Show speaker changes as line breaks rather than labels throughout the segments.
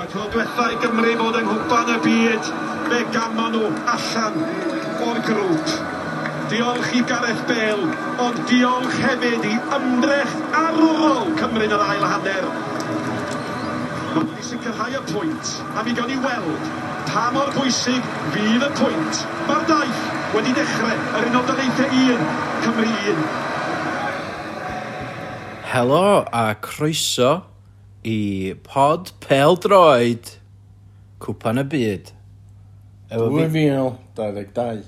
A tro diwetha i Gymru fod yng nghwpan y byd, fe gama nhw allan o'r grŵp. Diolch i Gareth Bale, ond diolch hefyd i ymdrech arwrol Cymru'n yr ail hanner. Mae wedi sicrhau y pwynt, a mi gawn ni weld pa mor bwysig fydd y pwynt. Mae'r daith wedi dechrau yr unol daleithiau 1, Cymru 1.
Helo a croeso i pod pel droed Cwpan y byd Efo fi,
2022.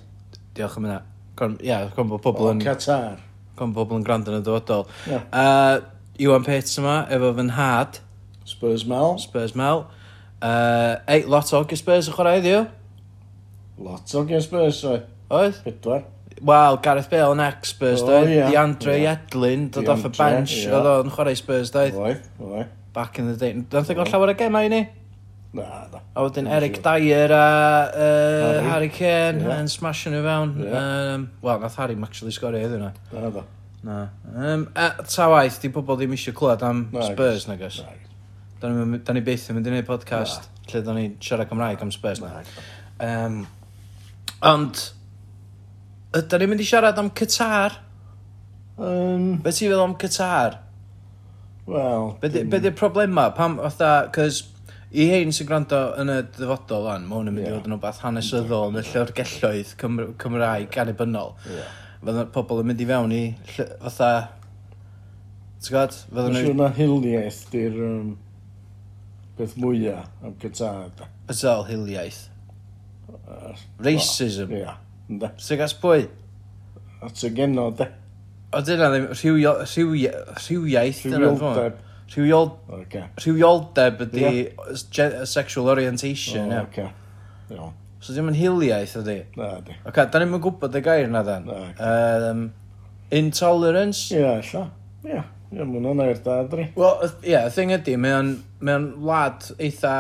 diolch am yna Gorm- Ia, yeah, gwrm bod pobl
O
yn
Qatar.
Gwrm bod pobl yn gwrando yn y dywodol
Ie.
uh, Iwan Pets yma, efo fy nhad
Spurs Mel.
Spurs Mel uh, Ei, lot o ogys Spurs yn chwarae iddi o
Lot o gen Spurs o'i.
Oedd?
Pedwar.
Wel, Gareth Bale yn ex-Spurs
O,
doedd
ie.
Diandre
Ie.
Iedlin, dod off y
Diandre,
bench
ie.
Oedd o'n chwarae i Spurs doedd
Oedd, oedd.
Back in the day Nath o gael llawer o gemau i ni
Na, na.
A wedyn
Dwi'n
Eric
siŵr.
Dyer a uh,
Harry.
Harry Kane
Ie.
yn smashio nhw fewn.
Ie.
Um, Wel, nath Harry actually sgorio iddyn nhw.
Na, na.
Na. Um, a, ta waith, di pobl ddim eisiau clywed am
Na,
Spurs,
na,
nagos.
na.
Da ni, da ni byth yn mynd i wneud podcast lle da ni'n siarad Cymraeg am Spurs.
Na.
Um, ond, da ni'n mynd i siarad am Qatar.
Um,
Be ti'n feddwl am Qatar?
Wel.
Be di- be di'r problema? Pam, fatha, cys i hein sy'n gwrando yn y dyfodol fan, mae hwn yn mynd i
Ie.
fod yn rhywbeth hanesyddol yn y llyfrgelloedd Cymr Cymraeg annibynnol.
Ie.
Fydda pobl yn mynd i fewn i, ll- fatha, ti'n gwybod? Fydda
Dwi'n
nhw,
siŵr na hiliaeth di'r um, beth mwyaf am Qatar. da.
bydol hiliaeth.
Yy,
Racism.
Ie. Ynde.
Ti'n gwybod pwy?
A ty geno, de.
O dyna ddim, rhywiol- rhywie- rhywiaeth dyna ddim.
Rhywioldeb.
Rhywiol,
Oce.
rhywioldeb ydi
Ie.
s- gen- sexual orientation, ie.
Oce. Iawn.
So ddim yn hiliaeth ydi.
Na, de.
Ok, da ni'n mynd gwybod y gair na dan.
Na,
Um, intolerance?
Ie, alla. Ie. Ie, mwyn o'n air da, dri.
Wel, y- ie, yeah, y thing ydi, mae o'n mae o'n wlad eitha...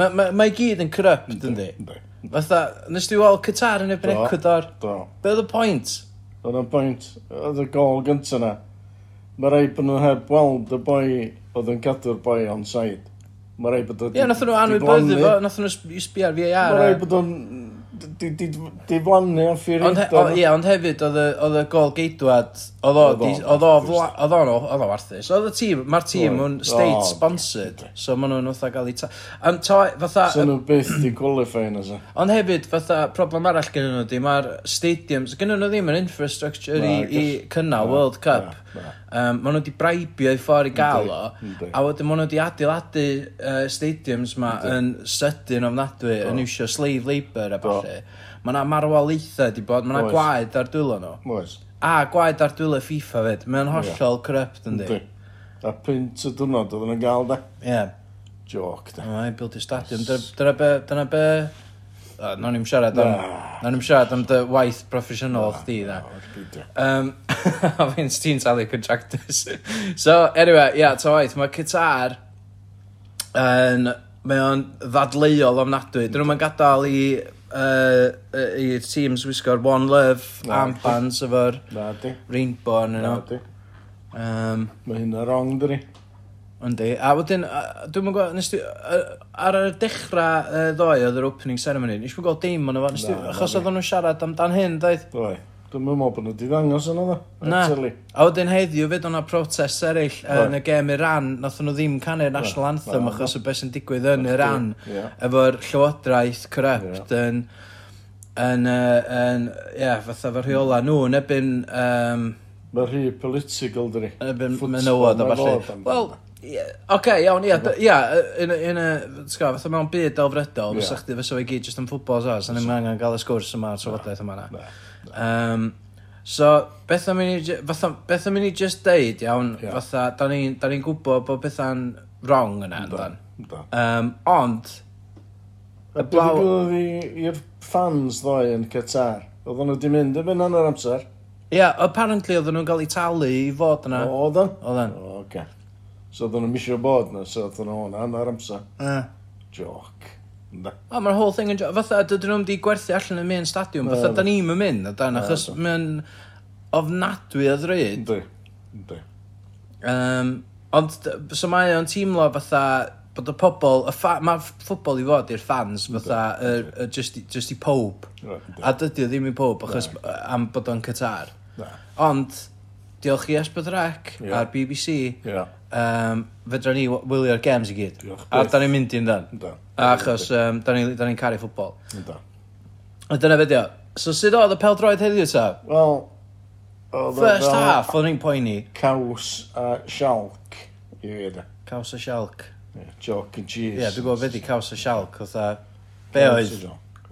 Mae ma, ma i gyd yn corrupt, yndi?
Ynddi.
Fatha, nes di weld Qatar yn ebyn
Do.
Ecuador.
Do.
Be oedd y pwynt?
Oedd o'n pwynt, oedd y gol gyntaf na. Mae rai bod nhw heb weld y boi oedd yn cadw'r boi on side. Mae rai bod o'n...
Ie, yeah, nath nhw anwybyddu fo, nath nhw sb- sbiar VAR.
Mae rai
a-
bod o'n... di- di- Diflannu a ffyrir.
Ond, he, o, ie, ond hefyd, oedd y- oedd y gol geidwad, oedd o,
Oedd o
di- oedd o,
warthus.
fla- oedd o'n, oedd o warthus. Oedd y tîm, mae'r tîm
Oedd.
yn
O,
state
ie.
sponsored, so maen nhw'n wrtha gael eu ta... Ond to, fatha...
Sa'n nhw byth di qualify na sa.
Ond hefyd, fatha, problem arall gen nhw ydy, mae'r stadiums, gen nhw ddim yr infrastructure i,
Na,
i
gas-
cynnal
na,
World Cup.
na, na.
Um, maen nhw wedi braibio i ffordd i gael o,
yndi.
a wedyn maen nhw wedi adeiladu uh, stadiums ma yn sydyn ofnadwy, yn iwsio slave labour a falle. Mae yna marwolaethau wedi bod, mae yna
Oes.
gwaed ar dwylo nhw.
Oes.
A gwaed ar dwylo FIFA fyd, mae'n hollol corrupt yndi.
Ynddi.
Ie,
A pint y dwrnod oedd yn gael da.
yeah.
Joc da.
mae'n build i stadium. Dyna- Dyna be, dyna be... Uh, Nog ni'n siarad am...
Na.
Nog ni'n siarad am dy waith proffesiynol chdi na.
O, beidio.
Um, a fi'n ti'n talu contractors. so, anyway, ia, yeah, ta waith, mae Qatar yn, mae o'n ddadleuol ofnadwy. Dyn nhw'n gadael i, uh, i'r teams wisgo'r One Love
Na.
armbands efo'r
Na di.
rainbow yn
Na
yno.
di.
Um,
Mae hynna wrong dri.
Yndi, a wedyn, a- dwi'n mwyn gweld, nes di, a- ar y dechrau uh, ddoe oedd yr opening ceremony, nes mwyn gweld dim ond efo, nes di,
Na, na
achos
fi.
oedden nhw'n siarad amdan hyn, ddoedd.
Dwi. Dwi'n meddwl bod nhw wedi ddangos yna da.
Na,
Actually.
a wedyn heddiw fyd o'na protest eraill
Oedd.
yn y gem Iran, nath nhw ddim canu'r National Anthem
na,
achos o beth sy'n digwydd yn Iran,
Ie.
efo'r llywodraeth corrupt yn, yn, yy, yn, ie, fatha fy rheola nhw, yn ebyn, um,
Mae rhi political dri.
Erbyn
Football,
menywod a
mae'n fod
falle.
am-
Wel, ie, oce, iawn, ie, d- ie, yn y, yn y, sgaf, fatha mewn byd delfrydol, fysa
Ie.
chdi, fysa fe gyd just yn ffwbol, sa, sa'n ddim angen gael y sgwrs yma, a'r trafodaeth yma na.
Na.
Um, so, beth am i ni, j- fatha, beth am i ni just deud, iawn,
Ie.
fatha, da ni'n da ni'n gwybod bod bethau'n wrong yna, yndan.
Da.
Um, ond,
Y
blaw-
blaw... i'r fans ddoe yn Qatar. Oedden nhw wedi mynd y mynd yn yr amser.
ie, yeah, apparently oedden nhw'n cael eu talu i fod yna.
O, Oedden?
Oedden.
O, oce. So oedden nhw'n misio bod na, so oedden nhw hwnna yn yr amser.
Ie.
Joc. Da.
O, mae'r whole thing yn... jo- Fatha, dydyn nhw'n di gwerthu allan y main stadiwm. Fatha,
Na,
da ni'n mynd mynd, o dan,
Na,
achos
do.
mae'n ofnadwy o ddryd.
Ynddi. Ynddi.
Um, ond, d- so mae o'n teimlo fatha bod y pobl, y ffa, mae ffwbol i fod i'r fans, fatha, y- y- just i- just i pob.
Yndi.
A dydy o ddim i pob, achos b- am bod o'n Qatar.
Na.
Ond, diolch i Esbyd Rec
Ie.
a'r BBC,
Ie.
um, fedra ni w- wylio'r games i gyd.
Diolch
A
byth.
da ni'n mynd i'n dan.
Yndan.
Achos, um, da ni'n ni caru ffwbol.
Yndan.
A dyna fe dio. So sut oedd y peldroed heddiw ta?
Wel, oedd o
First
fel
half, o'n i'n poeni.
Caws a sialc. Ie, da.
Caws a sialc.
Joc and cheese.
Ie, yeah, dwi'n gwybod beth i caws a sialc, fatha... Be oedd?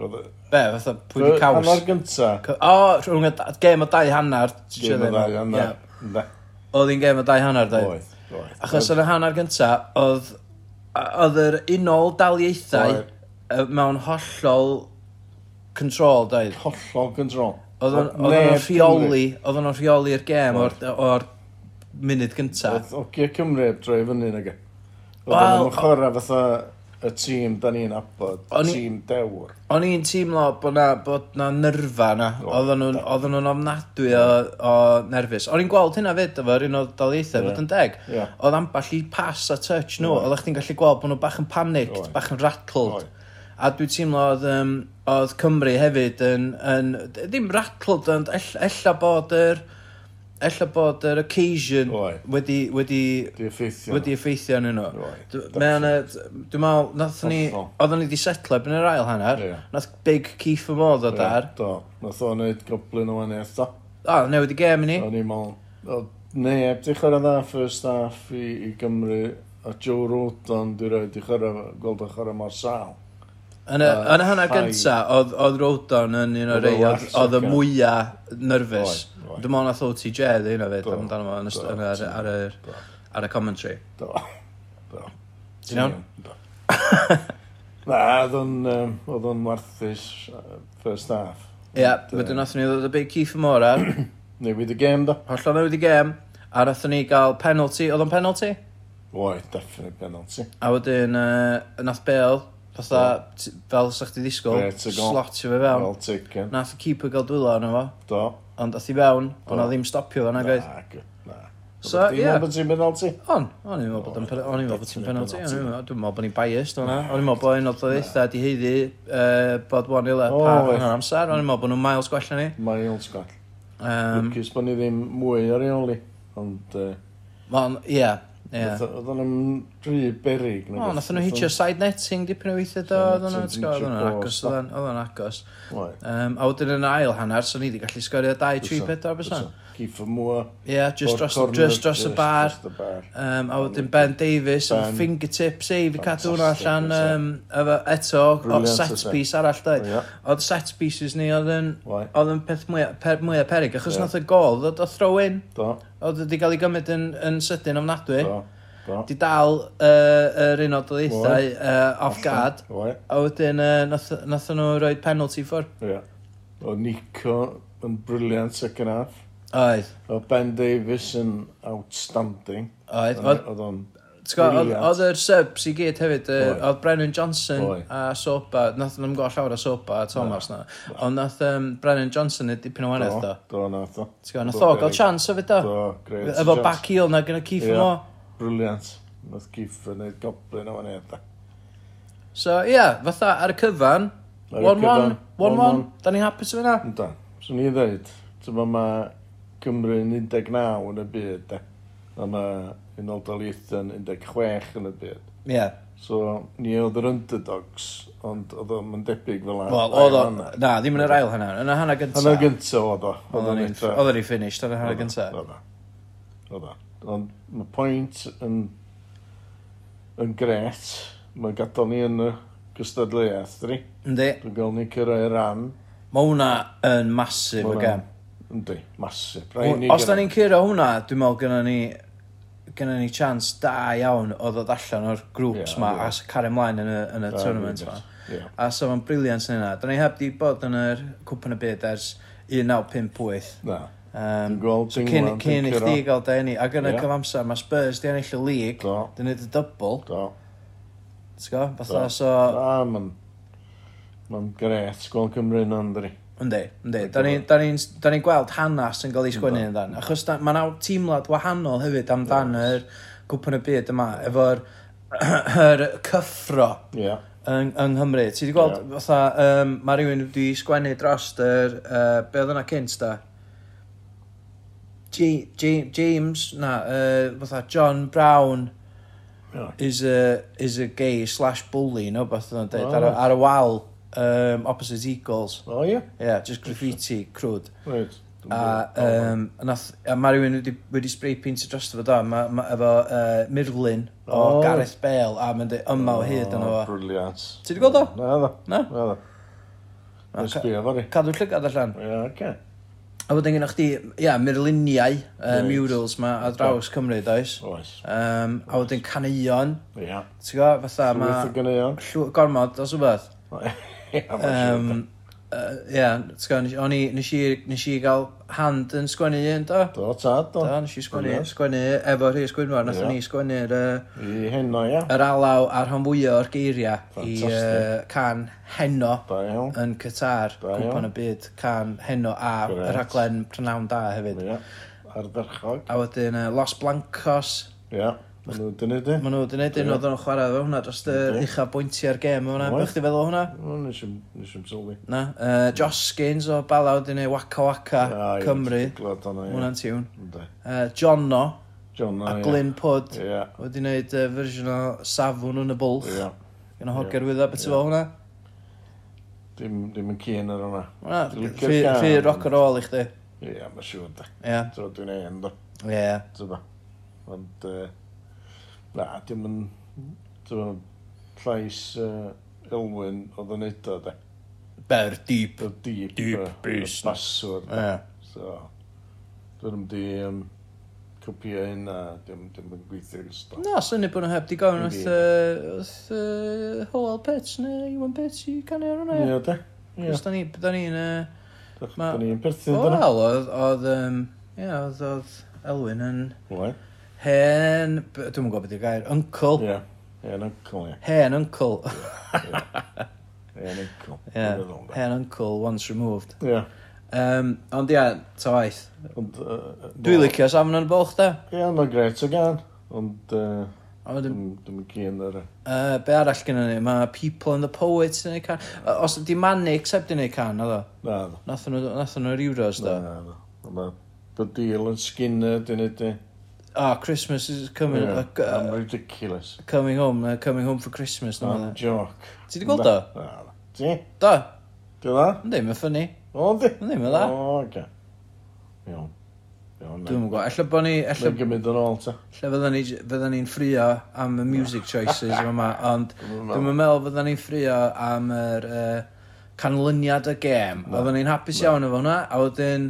Oedd y-
Be, fatha, pwy di caws?
Hannar gynta.
Co- O, rhwng y da- gêm o dau hannar. ti
Gym
siarad
yna,
am?
yna.
Ie. Oedd hi'n gêm o dau hannar, dweud.
Oedd, oedd.
Achos yn y hannar gynta, oedd a- oedd yr unol daliaethau
Oedd.
yy, mewn hollol control, dweud.
Hollol control.
Oedd o'n- oedd
Neb
o'n rheoli,
Cymru.
oedd o'n rheoli'r gêm o'r, o'r munud gynta.
Oedd ogia Cymru droi fyny nag e. Oedd
Wel,
o'n chwarae fatha y tîm da ni'n abod,
O'n i-
tîm dewr.
O'n i'n teimlo bod na, bod na nyrfa na.
O,
Oedden nhw'n-
da.
oedden nhw'n ofnadwy o, o nerfus. O'n i'n gweld hynna fyd efo'r un o daleithiau,
Ie.
bod yn deg.
Ie.
Oedd amball i pas a touch nhw.
Ie.
Oedd chdi'n gallu gweld bod nhw bach yn panicked,
Oedd.
bach yn rattled.
Oedd.
A dwi'n teimlo oedd, um, oedd Cymru hefyd yn, yn... Ddim rattled, ond ell, ella bod yr... Ella bod yr occasion
Oedd.
wedi, wedi,
Di effeithio.
wedi effeithio yn nhw.
Right.
D- Mae'n, yy, dwi'n meddwl, nath ni,
Hollol.
oedden ni wedi setlo yn yr ail hanner,
Ie.
nath Big Keith y Modd o dar,
Do, nath o'n neud goblin o'n eto.
o, newid i gem i ni,
O'n i'n meddwl, oedd neb di chwarae dda first half i, i Gymru, a Joe Rodon di roi di chwarae, gweld o'n chwarae mor sal.
yn y
Yy,
yn y hanner
fine.
gynta, oedd oedd Rodon yn un o'r
Oedd o
rei, oedd-
well,
oedd y
ocê.
mwyaf nyrfus.
Oedd, oedd.
Dwi'n meddwl nath OTJ ydy hynna fyd,
Do,
amdano fo, yn ystod-
do,
yn yr-
ti'n-
ar yr-
do.
ar y commentary.
Do, do.
Ti'n iawn?
Do. Na, oedd o'n, yym, oedd o'n warthus yy, first half.
Ia, wedyn nath ni ddod y Big Keith y Modd ar,
Newid y game, do?
hollol newid i gem, a nath ni gael penalty, oedd o'n penalty?
Oedd, definite penalty.
A wedyn, uh, nath Bale, fatha, t- fel sa'ch ti ddisgwyl,
Grêt o gol.
slotio fe fewn.
Well taken.
Nath y keeper gael dwylo arno fo,
Do.
ond ath i fewn, ond
Do.
oedd ddim stopio fe nag oedd.
Na, good, na.
So,
Dim
ie.
ond bod ti'n penalty.
On, o'n i'n meddwl bod yn pen- o'n i'n meddwl bod
Definitely
yn penalty, o'n i'n
penalty.
meddwl- dwi'n meddwl bod ni'n biased o'n O'n i'n meddwl bod un o ddoeitha di heiddi uh, bod one nil up
O,
ar
we.
yn amser, o'n i'n meddwl bod nhw'n miles gwella ni.
Miles gwell.
Um,
Lwcus bod ni ddim mwy ar reoli. Ond, yy,
ond, ie, ie.
nath- oedd o'n rhy berig. nag
O,
oedd?
nath nhw'n hitio side netting dipyn o weithiau do,
Side
oedd nhw'n
netting,
sgor, oedd
hitio
nhw'n agos,
balls,
oedd o'n- oedd o'n agos.
Oedd.
Um, a wedyn yn y ail hanner, so ni wedi gallu sgorio 2-3 bedwar bysan.
Keith Moore.
Ie, just
o'r
dros,
corner,
just dros y
just
bar.
dros y bar.
Um, a wedyn Ben Davies, ben,
Ben.
fingertip save i cadw hwnna
Fantastic,
allan.
wasn't it?
Um, efo, eto, o,
Brilliant,
set
wasn't it?
piece arall dweud.
Ie.
Oedd set pieces ni oedd yn,
Why?
oedd yn peth mwyaf per, mwya perig, achos
Ie.
nath y gol, oedd o throw in.
Do,
Oedd wedi cael ei gymryd yn, yn sydyn ofnadwy.
do, do.
Di dal yr uh, yr unod o ddeithau
Oedd.
uh, off guard.
Oedd.
A wedyn uh, nath, nath nhw roi penalty ffwr.
Ie. Oedd Nico yn briliant second half.
Oedd,
Oedd Ben Davies yn outstanding.
oedd. Oedd
Oedd o'n...
T'gwo, Oedd
Brilliant.
oedd yr subs i gyd hefyd, yy,
Oedd.
oedd Brennan Johnson
Oedd.
a Sopa, nath nhw'n gweld llawer o Sopa a Thomas na, ond nath um, Brennan Johnson i dipyn o wanaeth do.
Do, nath o.
T'gwo, nath o gael chance o fyd do.
Do, great.
Efo back heel na gyda Keith
Ie.
yeah. Mo.
Briliant. Nath Keith yn neud goblin o'n edda.
So ie, yeah, fatha ar y cyfan,
Ar y
1-1,
cyfan,
1-1,
1-1.
da ni hapus o fyna.
Ynda. Swn i ddweud, dyma mae Cymru'n 19 yn y byd, da. A mae Unol Dalithan 16 yn y byd.
Ie,
So, ni oedd yr underdogs, ond oedd o'n debyg fel ar-
wel,
ar
oedd o,
hwnna.
na, ddim yn yr ail hynna, yn y hana
Hanna
gynta.
gynta oedd o.
Oedden ni'n-
edrych-
Oedden ni finished yn y hana gynta.
Oedd o. Oedd o. Ond mae pwynt yn, yn gret. Mae'n gadael ni yn y gystadleuaeth, dri.
Yndi,
Dwi'n gael ni cyrraedd y ran.
ma hwnna yn masif o gem.
Yndi, masif.
Os da ni'n curo hwnna, dwi'n meddwl gynna ni gynna ni chance da iawn o ddod allan o'r grŵps
Ie,
ma
ie.
a s- cario ymlaen yn y, yn y tournament ma.
Ie.
A so mae'n briliant yn yna. Da ni heb di bod yn yr cwpan y byd ers 1958.
Na.
Um,
Dwi'n gweld
so cyn,
England
cyn
yn
i
curo.
chdi gael da ni. Ac yn y
Ie.
cyfamser, mae Spurs di ennill y lig.
Do.
Dyn ni di double.
Do.
Ti'n go? Fatha,
Do.
so...
A, mae'n... Mae'n gret gweld Cymru yn andri.
Yndi, yndi.
Dwi'n
Da ni'n- da ni'n da ni'n gweld hanes yn cael ei sgwennu yn dan. Achos mae yna teimlad wahanol hefyd amdan yr cwpan y byd yma. Efo'r yr cyffro
Ie.
yng, yng Nghymru. Ti wedi gweld,
Ie.
fatha, um, mae rhywun wedi sgwennu dros yr, uh, be oedd yna cynt da? Ja- Ja- James, na, uh, fatha John Brown
Ie.
is a, is a gay slash bully, no, beth yna'n dweud,
Oh.
ar, y- ar y wal, um, opposite Eagles.
O ie?
Yeah, just graffiti, crwd.
Reit.
A, um, a, nath, a mae rhywun wedi, wedi spray paint dros fo da, ma, ma, efo uh, mirlin o
O.
Gareth Bale, a mae'n dweud yma o hyd yno fo.
Briliant.
Ti 'di gweld o?
Na dda.
Na?
Na dda.
Na,
Nes
ca-
bia fo ni.
Cadw llygad allan.
Ie, oce.
A wedyn gynnwch chi, ia, mirluniau, uh,
Reit.
murals ma ar draws Cymru, does?
Oes.
Um, a wedyn caneuon,
Ie.
ti'n gwybod, fatha ma...
Wyth o ganeuon.
Llw- Gormod, os rhywbeth.
Ie, mae'n siŵr.
Um, uh, ia, ti'n gwybod, nes- o'n i- nes i- nes i gael hand yn sgwennu un, do?
Do, tad, do.
Do, nes i sgwennu,
Brilliant.
sgwennu efo rhys Gwynfor, nath
Ie.
ni sgwennu'r uh,
I heno, ie.
yr alaw a'r rhan fwyaf o'r geiriau i
Fantastic.
uh, can heno
Da iawn.
yn Qatar,
Da iawn.
cwpan y byd, can heno a
Grêt.
y rhaglen prynawn da hefyd.
Ie. Ardderchog.
A wedyn uh, Los Blancos,
Ie. Ma' nhw wedi neud e.
maen nhw wedi neud un
Ie.
oedd nhw'n chwarae efo hwnna, dros y
Yndi.
ucha bwyntiau'r gêm efo hwnna,
Oedd.
bych chi feddwl o hwnna?
O, nes i'm- nes i'm sylwi.
Na, uh, Josh Skins o Bala wedi neud Waka Waka
Ah, ie,
Cymru,
ti'n glwad hwnna, ie.
hwnna'n tiwn.
Yndi.
Uh, Jono
John,
a
ie.
Glyn Pwd
Ie.
wedi neud uh, fersiwn o Safwn yn y bwlch.
Ie.
Yn o hoger wydda beth efo hwnna.
Dim- dim yn keen ar hwnna. Dwi'n
Hwnna,
licio'r
rhy-
can.
rhy rock and roll i chdi.
Ie, ma'n siŵr, de.
Ie,
So, dwi'n hen, do.
ie.
Dyma. Ond, uh, na, dim yn, dyma, llais uh, Elwyn oedd yn edo, de.
Ber, deep.
Y deep,
Deep
yy,
bass.
Y baswr. de.
Ie.
So, dwi'n ymdi um, cwpio hyn a dim, dim yn gweithio gysdo.
Na, syni bod nhw heb di gofyn
Yndi.
wrth, yy, wrth uh, Howell Pitts neu Iwan Pitts i canu ar hwnna.
Ie,
Ie.
de. Ie,
Cos da ni, da ni'n... yy, ma-
da ni'n perthyn,
O,
dyna.
wel, oedd, oedd, yym, ie, oedd, oedd Elwyn yn
Oe.
hen, b- dwi'm yn gwybod beth yw'r gair, uncle.
Ie, ie, yn uncle, ie.
Hen uncle.
Ie, yn uncle.
Ie,
dwi'n meddwl, de.
hen uncle once removed.
Ie.
Um, ond ie, ta waith.
Ond, yy,
Dwi'n
wel,
licio Sam yn y bwlch da.
Ie, mae'n gret o gan. Ond, yy,
A wedyn
dim dim yn keen ar y...
Uh, be arall gynnu ni? Mae People and the Poets yn ei can. Uh, os ydi Manix heb di neud can, oedd o?
Na, do.
Nathon nhw- nathon nhw'r Euros, da.
Na, na, na. Mae bod deal yn skinner, dyn nhw.
Ah, Christmas is coming, uh, g-
I'm
uh,
ridiculous.
coming home, uh, coming home for Christmas.
I'm
No,
a joke.
Ti 'di gweld o?
Na, na. Ti?
da,
Di dda?
ynddi, mae'n ffynnu.
O, di?
Yndi, mae dda.
O, oce. Iawn. Iawn.
Dwi'n gwybod, ella bod ni, ella
Mae'n gymryd yn ôl, ta.
ella fyddan ni, fyddan ni'n ffrio am y music choices yma, ond
Dwi'm yn meddwl.
dwi'n meddwl fyddan ni'n ffrio am yr uh, canlyniad y gêm. Oedden ni'n hapus iawn efo hwnna, a wedyn,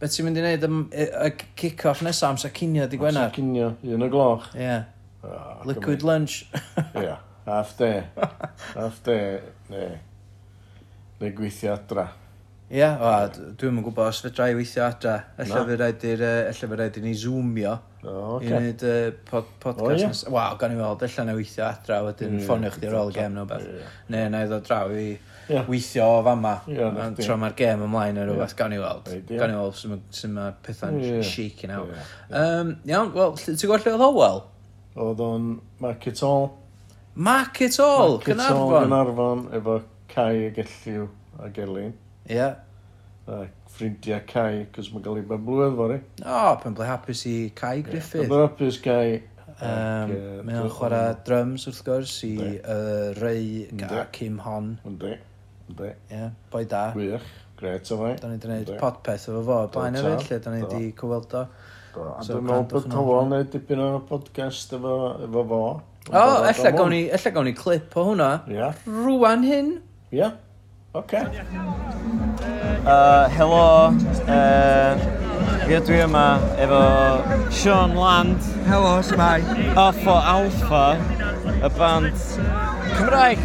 beth ti'n mynd i wneud am- y y kick-off nesaf am Sacinia di Gwener?
Sacinio, un o gloch.
Ie. Yeah.
O,
Liquid lunch.
gymryd. Ie. Half day. Half day. Ne. Ne gweithio adra.
Ie, yeah, o, dwi'm yn gwybod os fedra i weithio adra. Ella
Na.
fe raid i'r, yy, ella fe raid i ni zoomio
O,
i
oce.
wneud uh, pod
O, ie.
podcast. nes- Wel, gan i weld, ella na weithio adra, wedyn
Ie,
ffonio chdi ar ôl y
weithio
gem neu beth.
Ie.
Neu na i ddod draw i
Ie.
weithio o fama.
Ie, na chdi.
Tro mae'r gem ymlaen neu rhywbeth, gan i weld.
Ideal.
Gan i weld sy'n sy'n ma pethau'n
Ie.
shaking out.
Ie.
Um, iawn, wel, ll- ti'n gweld lle oedd Howell?
Oedd o'n market all.
Market All,
Market all
Cynarfon.
Gynarfon, efo Cai y Gelliw a Gelin.
Ie.
a ffrindiau Cai, cos mae'n cael ei ben blwydd fori.
O, pen ble hapus i Kai Griffith.
Oedd yn hapus Cai. ac,
Um,
yy,
Mae o'n
dwi-
chwarae drums wrth gwrs i
Yndi.
uh, Ray a
Yndi.
Kim Hon.
Yndi, yndi.
Yeah, boi da.
Gwych, gret o fai.
Da ni wedi gwneud
Yndi.
podpeth efo fo, blaen
Ta,
hefyd, lle da ni
ta.
wedi cyweld o.
Do, A
So,
dwi'n meddwl
gwrandwch
bod
yn
Howell neu dipyn o'r podcast efo, efo fo.
O, ella gawn ni, ella gawn ni clip o hwnna.
Ia,
Rwan hyn.
ia. Oce.
Uh, helo, uh, ie dwi yma efo Sean Land
Helo, smai.
off o Alpha, y band Cymraeg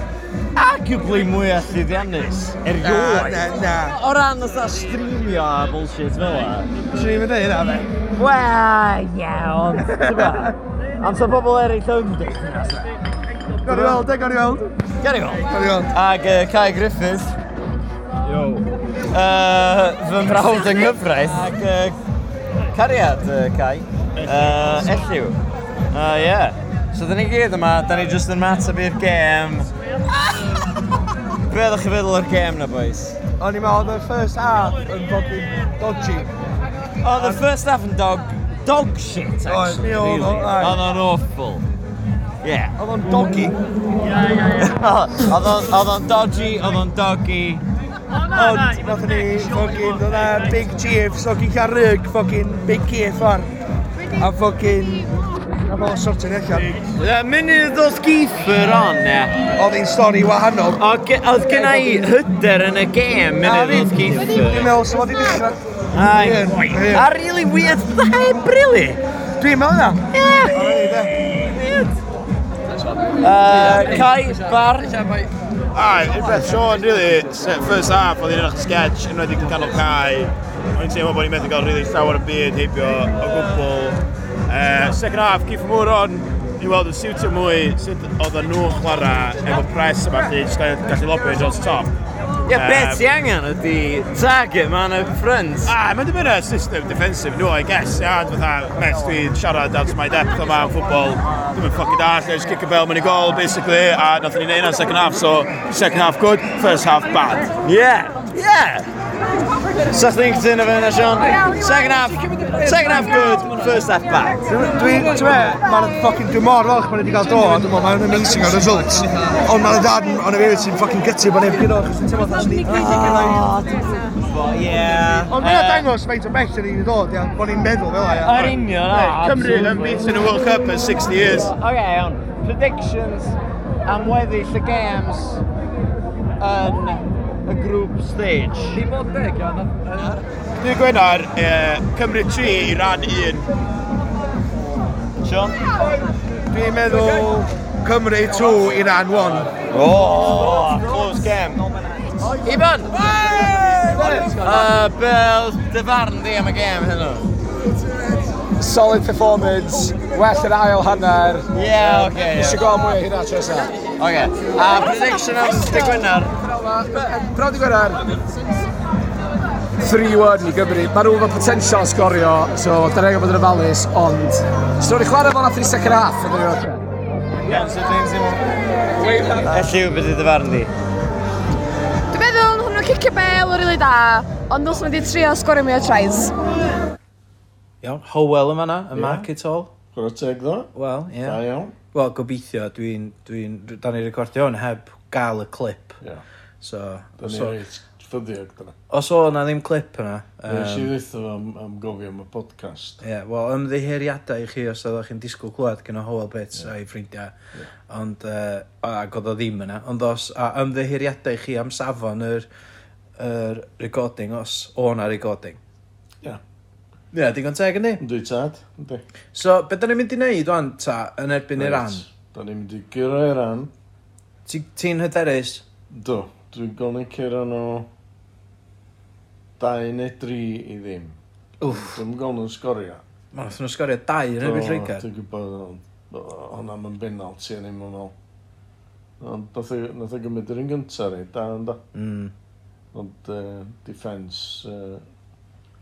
arguably mwyaf llyddiannus
Na, na,
erioed.
na.
O ran oedd streamio a bullshit fel yna.
Swn i'n mynd i hynna, fe.
Wel, iawn. Ond so pobl eraill yn deithnas.
Gawn i weld, e, gawn i weld.
Geri fel.
Gawn i weld.
Ag uh, Kai Griffith. Yo. Uh, fy mrawd yng Nghyfraith. Ag uh, cariad, uh, Kai. Uh, elliw. Uh, yeah. So, dyn ni gyd yma, dyn ni jyst yn matab i'r gêm. Be oedd chi feddwl o'r gêm na, boys?
O'n i'n meddwl oedd y first half yn fucking dodgy.
Oedd y Oh, first half yn dog, dog shit, actually,
mi oedd o,
really.
aye.
Oedd o'n awful. Yeah.
Oedd o'n doggy.
Oedd o'n- oedd o'n dodgy, oedd o'n doggy.
Ond nath ni fucking, oedd a big chief, fucking carrig, fucking big chief ar. A fucking, a fo sortio'n allan.
Ie, Munud oedd giffer on, ie.
Oedd hi'n stori wahanol.
Oedd ge- Oedd gen i hyder yn y gêm, munud oedd
Dwi'n
giffer.
meddwl sef oedd i ddechrau.
Ai.
Ie.
A really weird vibe, really.
Dwi'n meddwl na.
Uh, Kai, Bar,
Ai, unbeth Sean, really, se- first half, oedd hi'n eich sketch, yn wedi ganol cae. O'n i'n teimlo bod ni'n methu gael really llawer o byd heibio o gwbl. Uh, second half, Keith Mwron, i weld yn siwtio mwy sut oedd nhw'n chwarae efo pres yma chi, jyst yn gallu lobio dros top.
Ie,
Yym,
beth ti angen ydi target man up front.
Ah, mae'n dibynnu ar system defensive nhw, I guess. Ia, ond fatha, beth dwi'n siarad out my depth yma yn ffwbol. Dwi'n mynd ffocin da, lle just kick a bell, mynd i gol, basically. A nath ni'n neud na second half, so second half good, first half bad.
Ie, ie. So chdi'n cytuno fe yna, Sean? Second half, second half good, first half bad.
Dwi'n meddwl, mae'n ffocin, dwi'n mor falch bod ni wedi cael dod, dwi'n meddwl, mae'n amazing o'r results. Ond mae'n dad, ond y fi sy'n ffocin gytu bod ni'n gyda, chos yn teimlo dda sy'n ni.
Ie.
Ond mae'n dangos faint o bell sy'n ni'n dod, ia, bod ni'n meddwl fel ia.
Ar union, a.
Cymru yn beat yn y World Cup yn 60 years.
Oce, iawn. Predictions am weddill y games yn y grŵp stage.
Dwi'n gwenar, eh, Cymru 3 i ran 1.
Sean?
Dwi'n meddwl Cymru 2 i ran 1.
O!
Close game.
Ivan! Uh, Bel, dy farn di am y gêm heno?
solid performance, well yr ail hanner.
Ie, oce.
Eisiau gweld mwy o hynna tro nesa.
Oce. A prediction am dy gwynar?
Brawd i gwener, 3-1 i Gymru. Mae nhw efo potensial sgorio, so dyna ni'n bod yn ofalus, ond... So nhw'n chwarae fel nath i second half, yn dweud.
Elliw, beth i dy farn di?
Dwi'n meddwl nhw'n nhw'n cicio bel o'r rili da, ond nhw'n wedi trio sgorio mwy o tries.
Iawn, Howell yma na, y Mark it all.
Gwrdd teg ddo?
Wel, ie.
Da iawn.
Wel, gobeithio, dwi'n... Dwi'n... Da ni'n recordio hwn heb gael y clip.
Ie.
So,
Da
os
ni
o-
reit ffyddiog dyna.
os o na ddim clip yna...
Nes i
yym,
ddeitha fo am, am gofio am y podcast.
Ie, wel, ymddeheiriadau i chi os oeddech chi'n disgwyl clywed gyda Howell Bits a'i ffrindiau. Ond, uh, ac oedd o ddim yna. Ond os, a ymddeheiriadau i chi am safon yr, yr recording, os o na recording.
Ie.
Ie, digon teg yn di.
Ynddi tad? Ynddi.
So, beth da ni'n mynd i wneud, wan, ta, yn erbyn i'r ran?
Da ni'n mynd i gyrra i'r ran.
Ti- Ti'n hyderus?
Do. Dwi'n gofyn cyrra nhw... Dau neu dri i ddim.
Wff,
Dwi'n gofyn nhw'n sgorio.
mae nhw'n sgorio dau yn erbyn Lloegr.
Dwi'n gwybod ond hwnna mae'n benal ti yn i'n meddwl. Ond nath o- nath o gymryd yr un gyntaf ni, da yn da.
Mm.
Ond uh, defence, uh,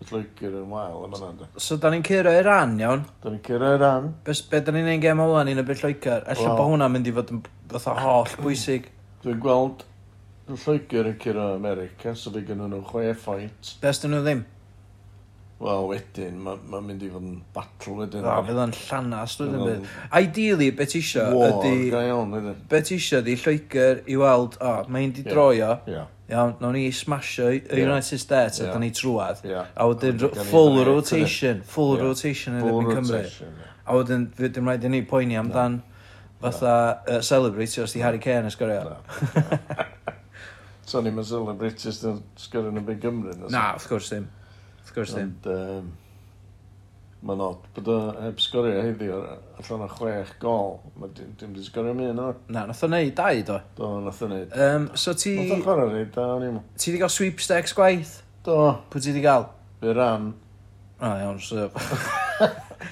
Lloegr yn wael yma na. da.
So, da ni'n curo i'r ran, iawn.
Da ni'n cyrra i'r ran.
Bes, be da ni'n neud gem ola ni'n erbyn Lloegr? Alla
Wel.
bod hwnna'n mynd i fod yn fatha holl bwysig.
Dwi'n gweld y Lloegr yn cyrra America, so fe gynnu nhw chwe ffaint.
Bes dyn nhw ddim.
Wel, wedyn, mae'n ma mynd i fod yn battle wedyn.
O, fydd o'n llanas, dwi'n
Wel.
dweud. Ideally, be ti isio
War,
ydi...
da iawn, wedyn.
Be ti isio ydi Lloegr i weld, o, mae'n di
Ie.
droio,
Ia,
iawn, nawn ni smasho y
Ie.
United States a
Ie.
da ni trwad.
Ie.
A wedyn
Gawn ni
full
fyny.
rotation, full
Ie.
rotation yn
full
erbyn Cymru.
rotation. ie.
A wedyn, fydd dim rhaid i ni poeni amdan fatha yy, celebrate os di Harry Kane yn sgorio.
So ni'n mynd celebrities yn sgyrra yn y byd Gymru. Na,
Na, wrth gwrs ddim. Wrth gwrs ddim.
Ond, um, mae'n od bod o heb sgorio heddi allan o chwech gol. Mae dim, dim di sgorio mi yna.
Na, nath o neud dau, do.
Do, nath o'n neud.
Um, so ti...
Nath o'n chwarae rhaid, da o'n i'n...
Ti di gael sweepstakes gwaith?
Do,
Pwy ti di gael?
fe ran.
O, iawn, so...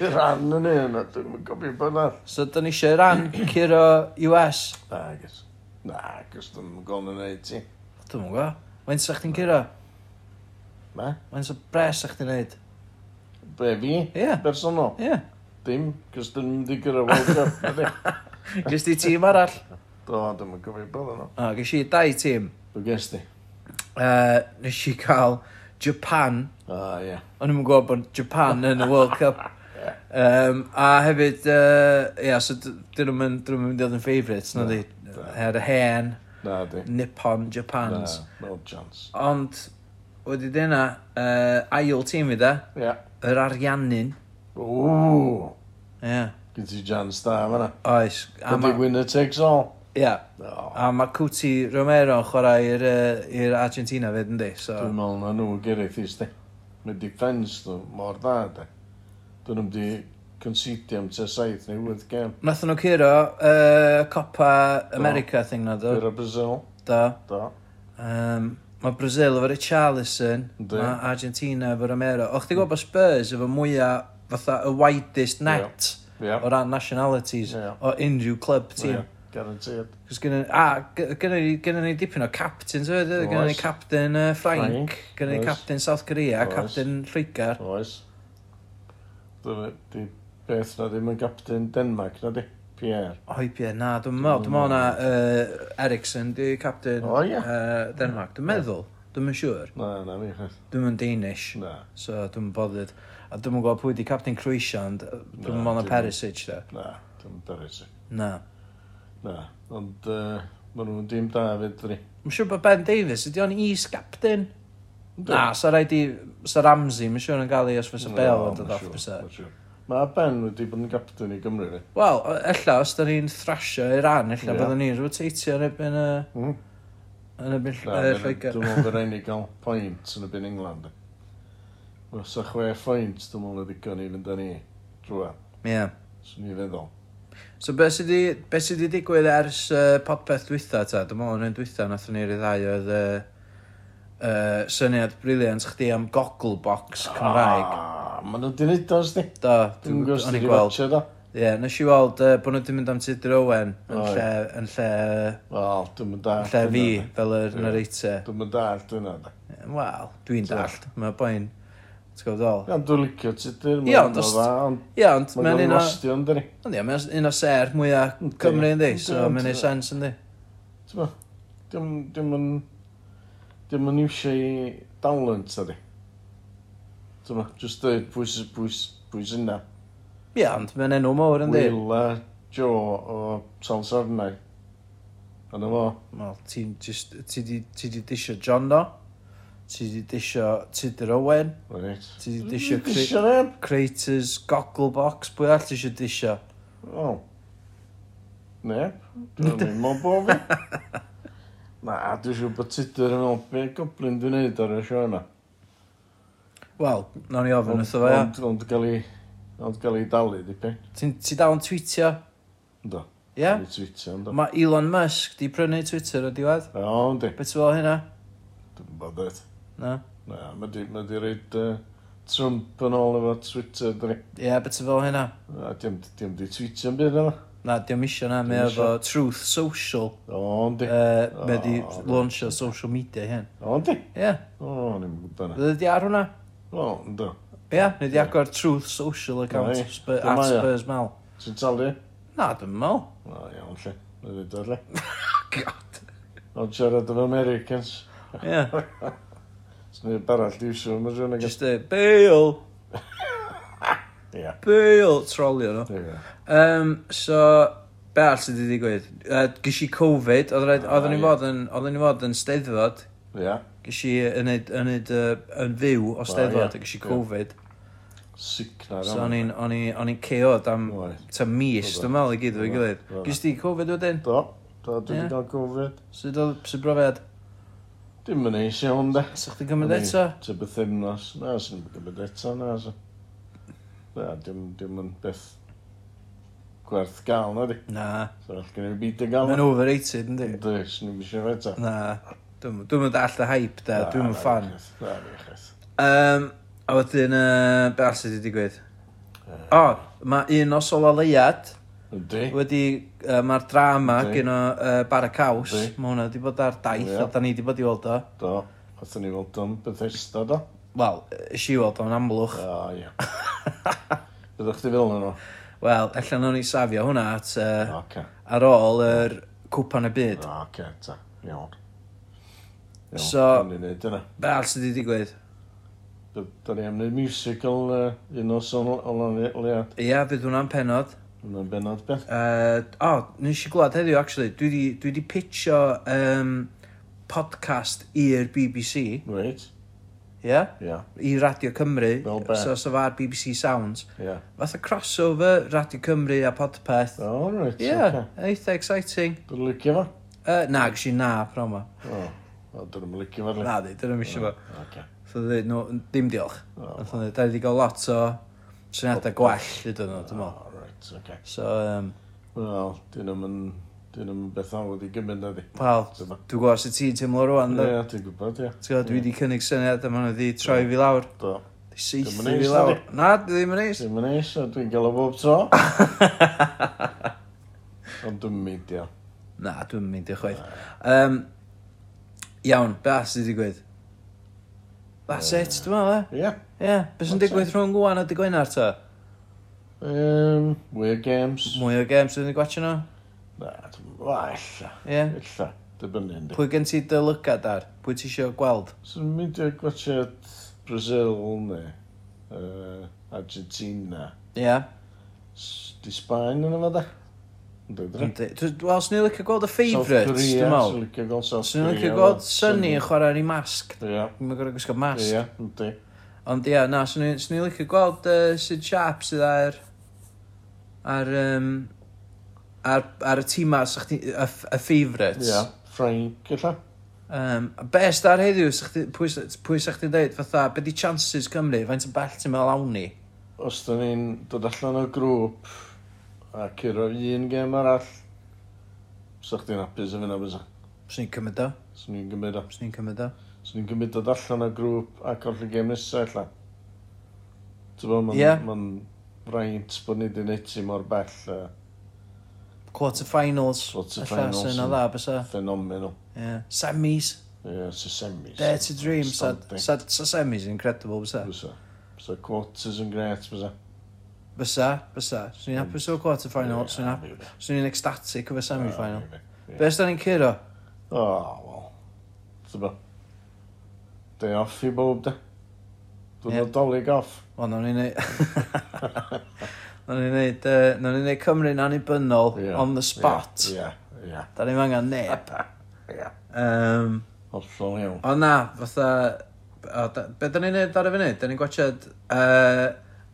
Fe ran yn un, a dwi'n mynd gofio bod na.
So, da ni eisiau ran curo US.
Na, gys. Na, gys dwi'n mynd gol yn neud ti.
Dwi'n mwyn gwa. Wen sa'ch ti'n curo?
Na?
Wen sa bres sa'ch ti'n neud?
Be fi?
Ie.
Bersonol.
Ie.
Dim, cos dyn nhw'n mynd i gyrra World Cup. nadi?
Ges di tîm arall?
Do, dim yn gofio bod yno.
O, ges i dau tîm.
Dwi'n ges di.
Uh, nes i cael Japan.
O, ie.
O'n i'n gwybod bod Japan yn y World Cup. Um, a hefyd, uh, ia, so d- dyn nhw'n mynd dyn nhw'm yn mynd i fod yn favourites, na di. Her y hen,
Na, di.
Nippon,
Na,
Japans.
no chance.
Ond, wedi dyna, uh, ail tîm i da,
Ie.
yr Ariannin.
Ww.
Ia, yeah.
Gyd i chance da, fanna.
oes. A
Ydy
ma-
winner takes all.
Ia,
O,
a mae Cuti Romero yn chwarae i'r, yy, i'r Argentina fyd yn di, so...
Dwi'n meddwl na nhw gyrraeth i sti. Mae defence nhw mor da, de. Dwi'n nhw'n di concedio am te saith neu wyth gem.
Nathon nhw curo uh, Copa America thing na do.
Fyra Brazil,
do.
do.
Um, mae Brazil efo'r Richarlison,
Yndi.
mae Argentina efo Romero. O'ch ti'n gwybod bod Spurs efo mwyaf fatha y widest net
Ie.
o ran nationalities
Ie.
o unrhyw club tîm.
Ie, Guaranteed.
Cos gynny- A, gy- gynny ni- gynny ni dipyn o captains oedd, gynny ni
Oes.
captain uh, Frank,
Frank,
gynny ni
oes.
captain South Korea,
Oes.
captain Lloegar.
Oes. Dyna di beth na ddim yn captain Denmark, na di? Pierre.
Hoi Pierre, na, dwi'n meddwl, dwi'n meddwl na uh, Ericsson, di captain
O, ie.
uh, Denmark, dwi'n meddwl, dwi'n yn siŵr,
Na, na, mi chwaith.
dwi'n yn Danish,
Na,
so dwi'n bothered, a dwi'n gwybod pwy di captain Croesia, ond yy, dwi'n
Na,
meddwl na
dwi'm-
Perisic, da,
na, dim dyrus i.
na.
Na, ond uh, maen nhw'n dim da fyd, dri.
Mae'n siŵr bod Ben Davies, ydy o'n is captain? Na, sa rhaid i, sa Ramsey, mae'n siŵr yn gael ei os fysa Bell yn dod off fysa.
Mae Ben wedi bod yn captain i Gymru, di.
Wel, o- ella, os da ni'n thrasio i ran, ella
Ie.
yeah. byddwn ni'n rotatio yn ebyn y...
Mm.
Yn ebyn
Na,
ll- yy,
Dwi'n
Lloegr.
meddwl bod rhaid ni gael pwynt yn y byn England. Os a chwe pwynt, dwi'n meddwl y ddigon i fynd â ni drwa.
Ie.
Swn i feddwl.
So beth sydd wedi be sy 'di digwydd ers uh, podpeth dwytha ta? Dwi'n meddwl yn un dwytha nathon ni'r ddau oedd uh, uh, syniad briliant chdi am goggle box Cymraeg.
Ah, Maen nhw wedi neud o, sti.
Do,
Dwi'n
dwi'n
gwybod
o'n i'n
sydd wedi
gweld.
watcha do.
Ie, yeah, nes i weld uh, bod nhw wedi mynd am Tudur Owen yn
O, ie.
lle, yn lle,
Wel, dwi'n mynd
yn
dalt
lle fi fel yr narrator.
Dwi'n mynd dalt yna, da.
Wel, dwi'n dallt. Mae boi'n... Ti'n gwybod ddol?
Iawn, dwi'n licio tudur,
Ie,
mae'n
ond os-
dda, ond
Ie, ond
mae'n
mae'n un o...
rostio yn dyn ni.
Ond ie, mae'n un o ser mwyaf
Yndi.
Cymru yn di, so
Yndi,
mae'n
yndi.
ei sens yn di.
Ti'n bo? Dim- Dim yn... Dim yn iwsio i dalent, da di. Ti'n bo? Just dweud pwy sy'n pwy pwy sy'n na.
Ie, ond mae'n enw mowr yn di.
Wila Jo o Salsarnau. Yna fo.
Wel, ti'n just, ti di, ti di disio John do, ti di disio Tudur Owen,
Reit.
ti di disio
Mm, Disio
cre
neb?
Creators, Gogglebox, pwy all ti isio disio?
O. Neb. Dwi'n ddim o bob fi. Na, dwi'n siŵr bod tudur yn olbi a goblin dwi'n neud ar y sio yna.
Wel, nawn ni ofyn wrtho fo, ia.
Ond- Ond gael ei... Ond gael ei dalu, dipyn.
Ti'n ti dal yn tweetio,
Do.
ie?
Gael ei twitio, ynddo.
Mae Elon Musk di prynu Twitter o diwedd.
O, yndi.
Beth ti'n fel hynna?
Dwi'n bod dweud.
Na.
Na, mae di, ma di reid uh, Trump yn ôl efo Twitter, dwi.
Ie, yeah, beth ti'n fel hynna?
A dim, dim di twitio yn byd yna.
Na, diolch isio na, mae
Dim isio.
efo Truth Social.
O, yndi.
Uh, mae di
O,
launchio social media hyn.
O, yndi.
Ie, yeah,
O, ni'n gwybod yna.
bydde di ar hwnna?
O, ynddo.
Ie, yeah, nid i agor Truth Social account
Aye.
Sp-
Dyma
at
ia.
Spurs Mel.
Ti'n talu?
Na, dwi'n meddwl.
O, iawn, lle. Mae'n dweud ar le.
God.
Ond siarad yn Americans.
Ie, yeah.
Swn i'n barall diwsio, mae'n rhywun ag...
just a bail,
Ie.
bail, trolio nhw.
Ie.
Um, so, be all sydd wedi digwydd? Uh, gys i Covid, oedd rhaid-
Ah,
oedden ni
ie.
fod yn, oedden ni fod yn steddfod,
Ie.
gys i yn neud, yn, neud, uh, yn fyw o steddfod,
ie.
a gys i
Ie.
Covid.
Sic na.
So, o'n i'n, o'n i'n, o'n i'n ceod am
Oedd.
ta mis, dwi'n meddwl i gyd o'i
Oedd.
gilydd.
Oedd.
Gys di Covid wedyn?
Do. Do, dwi
Ie.
wedi cael Covid.
Sut oedd, sut brofiad?
Dim yn eis iawn, de.
Sa'ch di gymryd eto?
Ty bythymnos. Na, sy'n gymryd eto, na. swn- Na, dim, dim yn beth gwerth gael, na di.
Na,
So, all gen i byd y gael.
mae'n overrated, yndi?
Dwi, sy'n i'n bysio fe eto.
Na, dwi'n mynd all y hype da, dwi'n mynd fan.
Na, fi chas.
Um, a wedyn, uh, be all sydd wedi digwydd? O, mae un o sola leiad
Yndi.
wedi, uh, mae'r drama
Yndi.
gyda uh, Bara Caws,
Yndi.
mae hwnna wedi bod ar daith,
Ie.
a da ni wedi bod i weld o.
Do. Oedden ni weld o'n Bethesda, do.
Wel, ys i weld o'n amlwch.
O, ie. Byddwch chdi fel nhw.
Wel, allan o'n i safio hwnna at, uh,
Oce.
ar ôl yr cwpan y byd.
Oce, ta. Iawn. Iawn,
So-
nawn ni neud yna.
Be ars ydi digwydd?
Da ni am wneud musical uh, un os o'n lead.
Ia, fydd hwnna'n penod.
Yna'n benod beth.
Uh, o, oh, nes i glwad heddiw, actually. Dwi di, dwi di pitcho um, podcast i'r BBC,
Reit.
ia? Yeah?
Ia.
I Radio Cymru.
Fel be?
So, so far BBC Sounds.
Ia.
Fath o crossover, Radio Cymru a Podpeth. Ia,
O, reit.
yeah,
oce.
eitha exciting.
Dwi'n licio fo.
Uh, na, gysi na, promo.
O, o, dwi'n licio fo.
Na, di, dyna mi eisiau fo.
Oce.
So dweud, no, dim diolch. Oh. So dweud, da ni wedi gael lot o
Oh.
syniadau gwell ydyn nhw, dwi'n meddwl.
O, reit, oce.
So, um,
Wel, dyn nhw'n mynd... Dyn nhw'n beth awd i gymryd ydi.
wel,
Dyma.
dwi'n gwybod sut ti'n teimlo rwan.
Ie,
Yeah.
dwi'n gwybod, ie.
Ti'n gwybod, dwi wedi cynnig syniad a maen nhw wedi troi fi lawr.
Do.
Di seithi
Ddim yn
fi
neis,
lawr.
nadi?
Na, dwi ddim yn neis.
Dwi'n mynd eis, a dwi'n gael o bob tro. Ond dwi'n mynd, ie.
Na, dwi'n mynd i'ch chwaith. Um, iawn, be as ydi digwydd? That's it, dwi'n meddwl, e?
Ie.
Ie, yeah, beth sy'n
That's
digwydd rhwng gwan a digwynar ta?
Um, Weird Games.
Mwy o games dwi'n gwachio nhw?
Na, dwi'n... Wa, illa.
Ie.
Illa. Dwi'n mynd yndi.
Pwy gen ti dy lygad ar? Pwy ti isio gweld?
Dwi'n mynd i'r gwachod Brazil, ne. Uh, Argentina.
Ie. Yeah.
S- Di Sbaen yn yma, da? Dwi'n dweud.
Yndi. Dw- e, Wel, swn i'n licio gweld y
South
favourites,
Korea,
dwi'n
swn
meddwl.
i'n licio gweld South Korea.
Swn i'n licio gweld
wel,
Sunny yn chwarae ni masg.
Ie.
Mae'n gorau gwisgo masg.
Ie, yndi.
Ond ia, na, swn i'n swn i'n licio gweld uh, Sid Sharp sydd ar... ar... Um, ar, ar y tîma, sa chdi- y, f- y favourites.
Ie, Frank, illa.
Um, a best ar heddiw, sa chdi- pwy sa- pwy sa chdi'n deud, fatha, be di chances Cymru, faint yn bell ti'n meddwl awn ni?
os da ni'n dod allan o grŵp a curo un gem arall, sa chdi'n hapus yn fyna fysa.
Swn i'n cymryd o,
Swn i'n gymryd o.
swn i'n cymryd o.
Swn i'n gymryd dod allan o grŵp a colli gem nesaf allan. Ti'n bod, ma'n
Ie.
yeah. ma fraint bod ni wedi neud ti mor bell a
Quarterfinals.
Quarterfinals.
Ella, sy'n o dda, bysa.
ffenomenol.
Ie. Semis.
Ie, sy semis.
Dare to dream, sa,
Something.
sa, sa semis yn incredible, bysa?
Fysa. Fysa quarters yn gret, fysa.
Bysa, bysa. Swn i'n hapus o quarter final,
Ie,
swn i'n
maybe.
hapus. Swn i'n ecstatic o fy semi final.
Maybe. Ie.
Be ysdyn ni'n curo?
O, wel. Ti'n bod. Day off i bob, da. Dwi'n
Ie.
yeah. dolyg off.
O, nawn ni'n neud... Nawn ni'n neud, uh, nawn ni'n neud Cymru'n annibynnol,
Ie.
on the spot.
Ie, ie, ie.
Da ni'n angen neb.
Ie.
Um,
Hollol iawn.
o na, fatha... O, da, be da ni'n neud ar y funud? Da ni'n gwachod uh,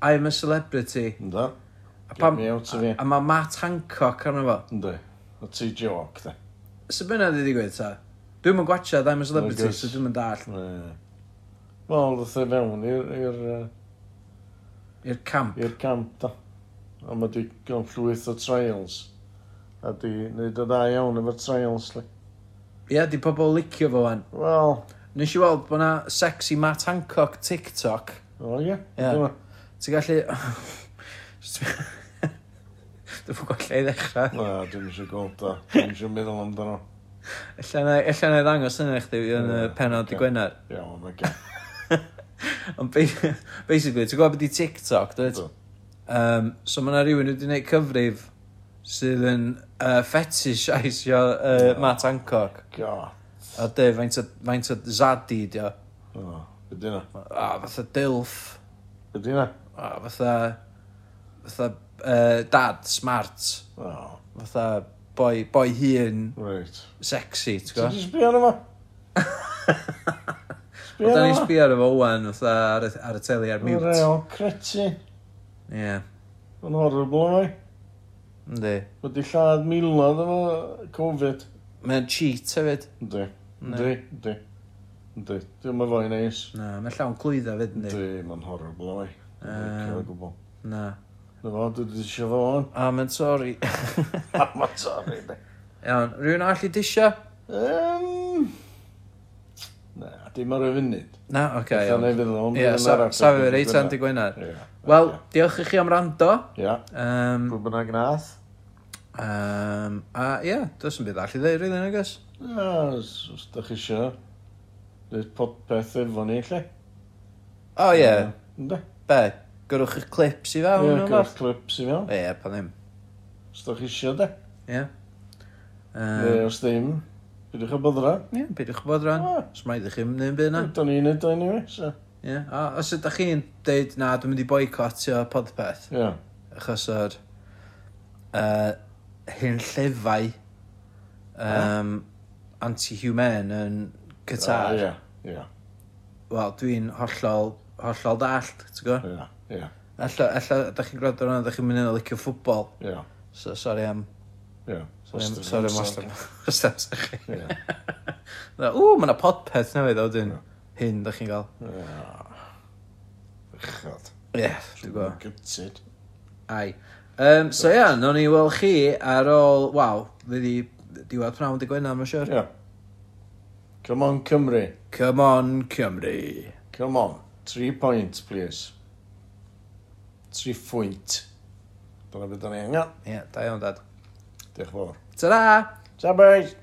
I'm a Celebrity.
Ynddo?
A,
Get me out of here.
a mae Matt Hancock arno fo.
Ynddo? O ti joc, da?
Sut bynnag ydi digwydd ta? Dwi'n yn gwachio I'm a Celebrity,
Nagos.
so dwi'n yn dall
Ie. Wel, ddoth e fewn i'r- i'r yy,
i'r camp.
i'r camp, da. A mae di gael llwyth o trials. A di wneud y dda iawn efo'r trials, li.
Ie, di pobl licio fo wan.
Wel,
Nes i weld bod na sexy Matt Hancock TikTok.
o ie.
Ie.
dyma.
Ti'n gallu... Dwi'n gwybod lle i ddechrau.
Na, dwi'n eisiau gweld da. Dwi'n eisiau meddwl amdano.
Ella na ella na i ddangos hynny i chdi yn y
Ie,
penod
ocê.
i Gwener.
Iawn, oce.
Ond ba- basically, ti'n gwybod beth i TikTok, dwi'n
Do.
Um, so mae yna rhywun wedi gwneud cyfrif sydd yn uh, fetishaisio uh, Matt Hancock.
God.
A dy, faint o, faint o zadi di o.
O, ydy na.
A fatha dilf.
Ydy na.
A fatha... Fatha uh, dad, smart.
O,
Fatha boi, boi hun,
reit.
sexy, ti'n
Ti'n
gwybod?
di sbio arno fo? Sbio
Da
arno
ni'n
fo?
sbio ar efo wan, fatha ar, y- ar y teli ar mute. Ie,
Reo, creti.
yeah.
Yn horrible yma.
yndi.
Mae di lladd milodd efo Covid.
Mae'n cheat hefyd.
Ynddi. Ynddi. Ynddi. Ynddi. Dwi'n mynd fo'n neis.
Na, mae'n llawn glwydda fyd, yndi.
Ynddi, mae'n horrible yma. Dwi'n cael gwbl.
Na.
Na fo, dwi wedi eisiau fo o'n.
A mae'n sori.
Mae'n sori, ynddi.
Iawn, rhywun all i disio?
Ehm... Na, dim ar y funud.
Na, oce.
Ella
iawn.
neu fydd o'n...
Ie, sa- safio fi reit am di Gwener. Wel, diolch i chi am rando.
Ia.
Um,
Pwy bynnag nath.
um, a ie, yeah, does yn bydd all i ddeud, rili, nagos?
Ia, os os dach chi eisiau. Dwi'n podpeth efo ni, lle.
O ie,
Ynddi.
be? gyrwch eich clips i fewn.
Ie,
neu
gwrdd
wbath.
clips i fewn.
Ie, pa ddim.
Os da chi eisiau, de.
Ie.
Ie,
Yym,
Os ddim, bydwch yn boddra.
Ie, beidiwch bod rhan.
Ie.
Os mae ddech chi'n mynd byd na.
Da ni'n neud o'n anyway, so.
Ie. A os ydych chi'n deud, na, dwi'n mynd i boicotio podpeth,
Ie.
achos o'r uh, hyn llefau um, anti-human yn
Ah,
Qatar.
Ie, ie,
Wel, dwi'n hollol, hollol dallt, ti'n go?
ie, ie,
Alla, alla, da chi'n gwrando rhan, da chi'n mynd yn licio ffwbol.
ie.
So, sori am...
Ie.
Sori am... Sori am... Sori am... Sori am... Sori
Ie.
Na, Ww, mae yna podpeth newydd o dyn. Hyn, da chi'n gael.
Chod.
Ie, dwi'n gwybod.
Gutted.
Ai. Um, so ia, nawn ni weld chi ar ôl, waw, fydd i diwedd pnawn di gwenar, mae'n siwr.
Ie. Come on, Cymru.
Come on, Cymru.
Come on. Three points, please. Three pwynt. Dyna beth da ni angen.
Ie, da iawn, dad.
Diolch fawr.
Ta-da!
Ta, boys.